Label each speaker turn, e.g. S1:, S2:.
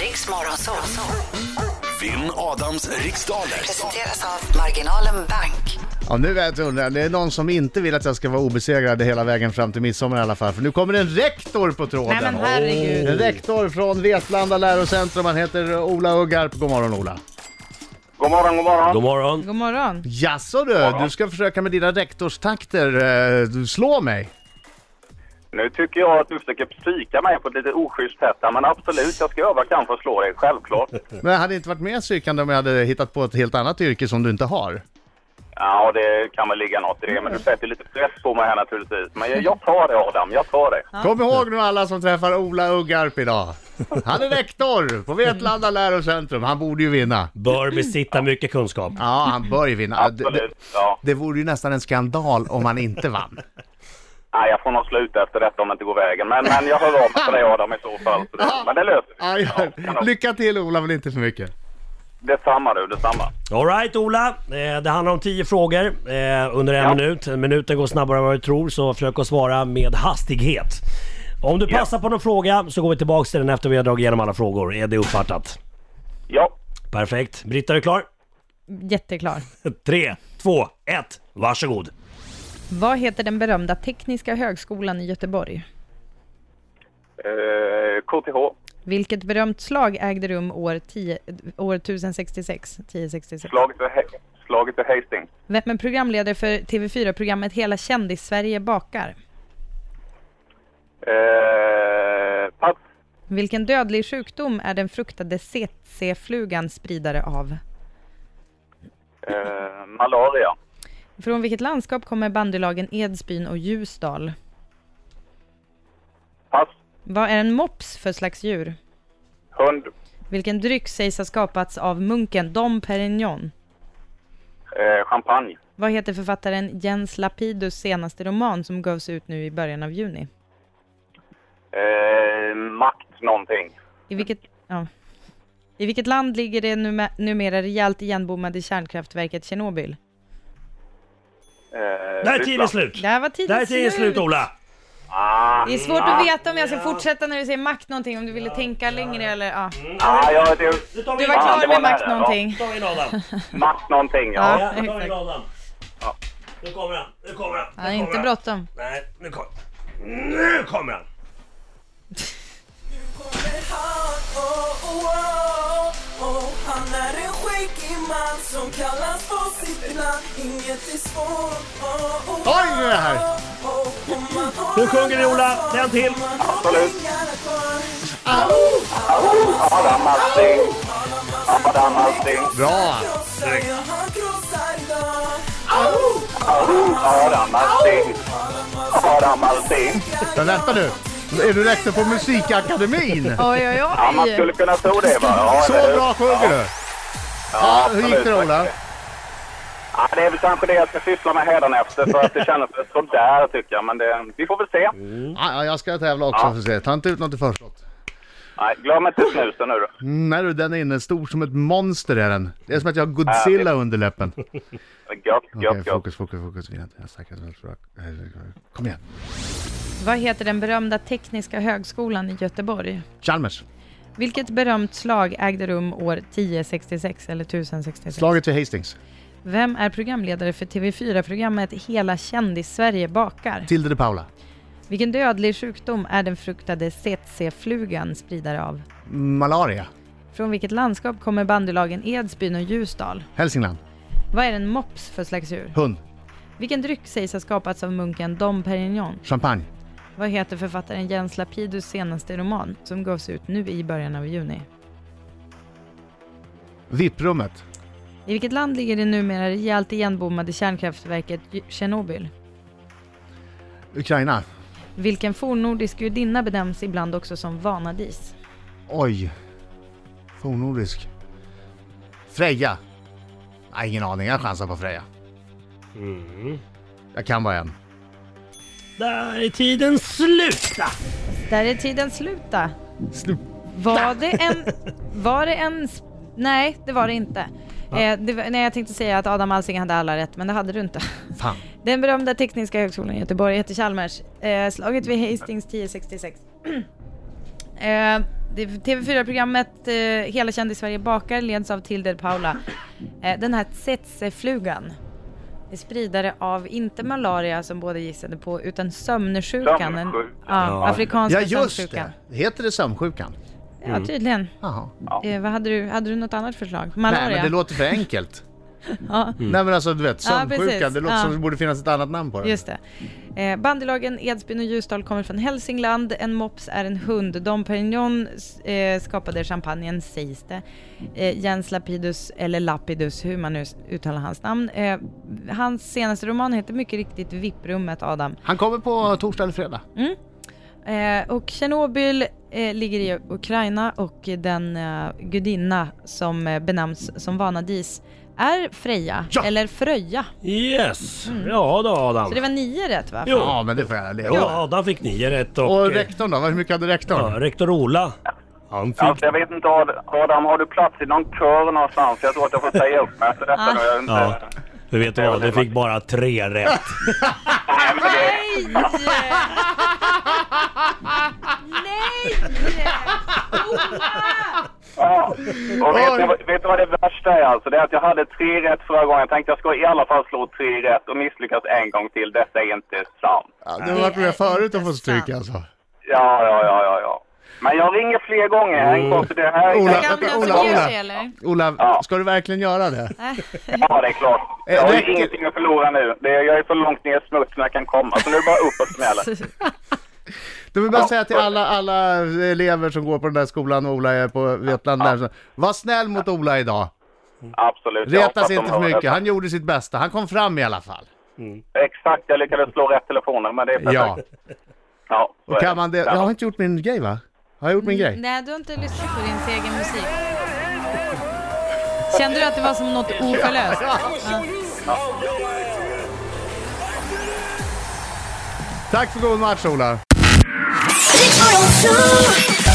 S1: Riks Morgonzoo.
S2: Vinn Adams riksdaler.
S1: Presenteras av Marginalen Bank.
S3: Ja, nu är jag undrar. Det är någon som inte vill att jag ska vara obesegrad hela vägen fram till midsommar i alla fall. För nu kommer en rektor på tråden.
S4: Nej, men herregud.
S3: En rektor från Vetlanda lärocentrum. Han heter Ola Uggarp. God morgon Ola.
S5: God morgon, god morgon.
S6: God morgon.
S4: God morgon.
S3: Jaså du, du ska försöka med dina rektorstakter eh, du slå mig.
S5: Nu tycker jag att du försöker psyka mig på ett lite oschysst sätt här, men absolut, jag ska göra vad jag kan för att slå dig, självklart.
S3: Men jag hade inte varit med psykande om jag hade hittat på ett helt annat yrke som du inte har.
S5: Ja, det kan väl ligga något i det, men du sätter lite press på mig här naturligtvis. Men jag- jag tar det, Adam, jag tar det.
S3: Kom ihåg nu alla som träffar Ola Uggarp idag. Han är rektor på Vetlanda lärocentrum. Han borde ju vinna.
S6: Bör besitta mycket kunskap.
S3: Ja, han bör ju vinna. Det, det,
S5: Absolut, ja.
S3: det vore ju nästan en skandal om han inte vann.
S5: Nej, jag får nog sluta efter detta om det inte går vägen, men, men jag hör av mig till dig, Adam, i så fall. Så det- Men det löser vi.
S3: Ja, ja.
S5: kanon.
S3: Lycka till Ola, men inte för mycket.
S5: Detsamma du, detsamma.
S6: Alright Ola, eh, det handlar om 10 frågor eh, under en
S5: Ja.
S6: minut. Minuten går snabbare än vad du tror så försök att svara med hastighet. Om du
S5: Ja.
S6: passar på någon fråga så går vi tillbaks till den efter vi har dragit igenom alla frågor. Är det uppfattat?
S5: Ja,
S6: Perfekt. Britta, är du klar?
S4: Jätteklar.
S6: 3, 2, 1, varsågod.
S4: Vad heter den berömda Tekniska högskolan i Göteborg?
S5: eh, KTH,
S4: Vilket berömt slag ägde rum år, 10, år 1066? 1066.
S5: slaget för, He- slaget för Hastings,
S4: Vem är programledare för TV4-programmet Hela kändis-Sverige bakar?
S5: eh, pass,
S4: Vilken dödlig sjukdom är den fruktade CC-flugan spridare av?
S5: eh, malaria,
S4: Från vilket landskap kommer bandylagen Edsbyn och Ljusdal?
S5: pass,
S4: Vad är en mops för slags djur?
S5: hund,
S4: Vilken dryck sägs ha skapats av munken Dom Perignon?
S5: eh, champagne.
S4: Vad heter författaren Jens Lapidus senaste roman som gavs ut nu i början av juni?
S5: Eh, makt någonting.
S4: I vilket, ja. I vilket land ligger det numa- numera rejält igenbommade kärnkraftverket Tjernobyl?
S5: Eh,
S6: Där är tiden
S5: Ryssland.
S6: slut.
S4: Där var tiden
S6: Där är tiden slut Ola.
S5: Ah,
S4: Det är svårt att veta om jag ska fortsätta när du säger makt någonting, om du ville tänka längre eller ja.
S5: ah, ja, det,
S6: Nu tar vi
S4: Du
S6: in
S4: var
S5: Ja, det
S4: klar
S5: var
S4: med makt
S5: nära, ja.
S4: någonting.
S6: Nu tar vi in Adam.
S5: makt någonting, ja.
S6: Ja, nu tar vi in
S4: exakt.
S6: Adam.
S5: Ja.
S6: Nu kommer han. Nu kommer han. Nu
S4: Ja,
S6: kommer
S4: inte
S6: han.
S4: bråttom.
S6: Nej, nu kommer Nu kommer han!
S7: Han är en skäggig man som kallas på sitt namn Inget är svårt
S3: Oj, nu är det här!
S6: Nu sjunger vi Ola, en till!
S5: Absolut. Adam Alsing. Adam Alsing.
S3: Bra!
S5: Adam Alsing. Adam Alsing.
S3: Men vänta nu, är du rektor på Musikakademin?
S4: Oj, oj,
S5: Ja, man skulle
S4: oj!
S5: kunna tro det, va? Ja,
S3: Så
S5: eller hur?
S3: bra sjunger du! Ja, hur gick det då, Ola?
S5: Ja, det är väl kanske det jag ska syssla med hädanefter, för att det kändes väl sådär, tycker jag. Men det, vi får väl se.
S3: Ja, ja, jag ska tävla också för se. Ta inte ut något i förskott.
S5: Nej, glöm inte snusen nu. då.
S3: Mm, Nej du, den är inne. Stor som ett monster är den. Det är som att jag har Godzilla under läppen. Okej,
S5: Gött, gött, gött.
S3: fokus, fokus, fokus. Vi har inte- jag snackar som ett språk. Kom igen.
S4: Vad heter den berömda Tekniska högskolan i Göteborg?
S3: Chalmers.
S4: Vilket berömt slag ägde rum år 1066 eller 1066?
S3: Slaget vid Hastings.
S4: Vem är programledare för TV4-programmet Hela kändis-Sverige bakar?
S3: Tilde de Paula.
S4: Vilken dödlig sjukdom är den fruktade tsc-flugan spridare av?
S3: Malaria.
S4: Från vilket landskap kommer bandylagen Edsbyn och Ljusdal?
S3: Hälsingland.
S4: Vad är en mops för slags djur?
S3: Hund.
S4: Vilken dryck sägs ha skapats av munken Dom Perignon?
S3: Champagne.
S4: Vad heter författaren Jens Lapidus senaste roman som gavs ut nu i början av juni?
S3: VIP-rummet.
S4: I vilket land ligger det numera rejält igenbommade kärnkraftverket J- Tjernobyl?
S3: Ukraina.
S4: Vilken fornnordisk gudinna benämns ibland också som Vanadis?
S3: Oj. Fornnordisk. Freja. Nej, ingen aning. Jag chansar på Freja.
S6: Mm.
S3: Jag kan bara en.
S6: Där är tiden slut!
S4: Där är tiden sluta.
S3: Slut.
S4: Var det en... Var det en... s- Nej, det var det inte. Eh, det var, nej, jag tänkte säga att Adam Alsing hade alla rätt, men det hade du inte.
S3: Fan.
S4: Den berömda Tekniska högskolan i Göteborg heter Chalmers. Eh, slaget vid Hastings 1066. eh, Det TV4-programmet eh, Hela kändis-Sverige bakar leds av Tilde Paula. Eh, den här tsetseflugan är spridare av, inte malaria som båda gissade på, utan sömnsjukan. En, ja,
S5: Sömnsjukan.
S4: Afrikanska
S3: Ja just
S4: sömnsjukan.
S3: det! Mm. Heter det sömnsjukan?
S4: Ja, tydligen.
S3: Jaha.
S4: Eh, vad hade, du, hade du något annat förslag? Malaria?
S3: Nej men det låter för enkelt.
S4: ja,
S3: Nej men alltså du vet, sömnsjukan,
S4: precis.
S3: det låter
S4: Ja.
S3: som det borde finnas ett annat namn på det.
S4: just det. Eh, bandylagen Edsbyn och Ljusdal kommer från Hälsingland. En mops är en hund. Dom Perignon s- eh, skapade champagnen, sägs det. Eh, Jens Lapidus, eller Lapidus, hur man nu s- uttalar hans namn. Eh, hans senaste roman heter mycket riktigt Vipprummet, Adam.
S3: Han kommer på torsdag eller fredag.
S4: Mm. Eh, och Tjernobyl eh, ligger i Ukraina och den eh, gudinna som eh, benämns som Vanadis är Freja,
S3: Ja!
S4: eller Fröja.
S6: Yes! Ja då Adam.
S4: Så det var nio rätt va?
S6: Jo.
S3: Ja men det får jag leva
S6: Ja,
S3: med.
S6: Adam fick nio rätt och...
S3: Och
S6: eh,
S3: rektorn då? Hur mycket hade
S6: ja,
S3: rektorn?
S6: rektor Ola. Han fick...
S5: Alltså, jag vet inte, Ad- Adam, har du plats i någon kör någonstans? Jag tror att jag får säga upp mig efter detta nu. Jag är inte...
S6: Ja. Du vet du vad, det fick bara tre rätt.
S5: Nej, men det...
S4: Nej! Nej!
S5: Ja. Och vet, ni, vad- vet ni vad det värsta är alltså? Det är att jag hade tre rätt förra gången. Jag tänkte jag ska i alla fall slå tre rätt och misslyckas en gång till. Detta är inte sant.
S3: Ja, du har varit med förut och fått stryk
S4: sant.
S3: alltså.
S5: Ja, ja, ja, ja, ja. Men jag ringer fler gånger. Häng på för det här.
S3: Mm. Ola.
S4: Kan den
S3: Ola,
S4: som ger
S3: Ola.
S4: sig eller?
S3: Ola,
S5: Ja.
S3: ska du verkligen göra det?
S5: Ja, det är klart. Jag har
S3: Räcker-
S5: ju ingenting att förlora nu. Det är, jag är så långt ner i smutsen jag kan komma. Så nu är det bara upp och smäller.
S3: Du vill bara
S5: Ja.
S3: säga till alla, alla elever som går på den där skolan och Ola är på Vetland där, så, var snäll mot Ola idag.
S5: Absolut. jag hoppas
S3: Retas
S5: de
S3: inte för
S5: hör
S3: mycket,
S5: detta.
S3: han gjorde sitt bästa, han kom fram i alla fall.
S5: Exakt, jag lyckades slå rätt telefoner, men det är perfekt.
S3: Ja,
S5: ja så är Mm.
S3: kan man det?
S5: Ja.
S3: Jag har inte gjort min grej va? Har jag gjort min grej?
S4: Nej, du har inte lyssnat på din egen musik. Kände du att det var som något oförlöst?
S3: Tack för god match Ola!
S8: Riksmorgon, zoo.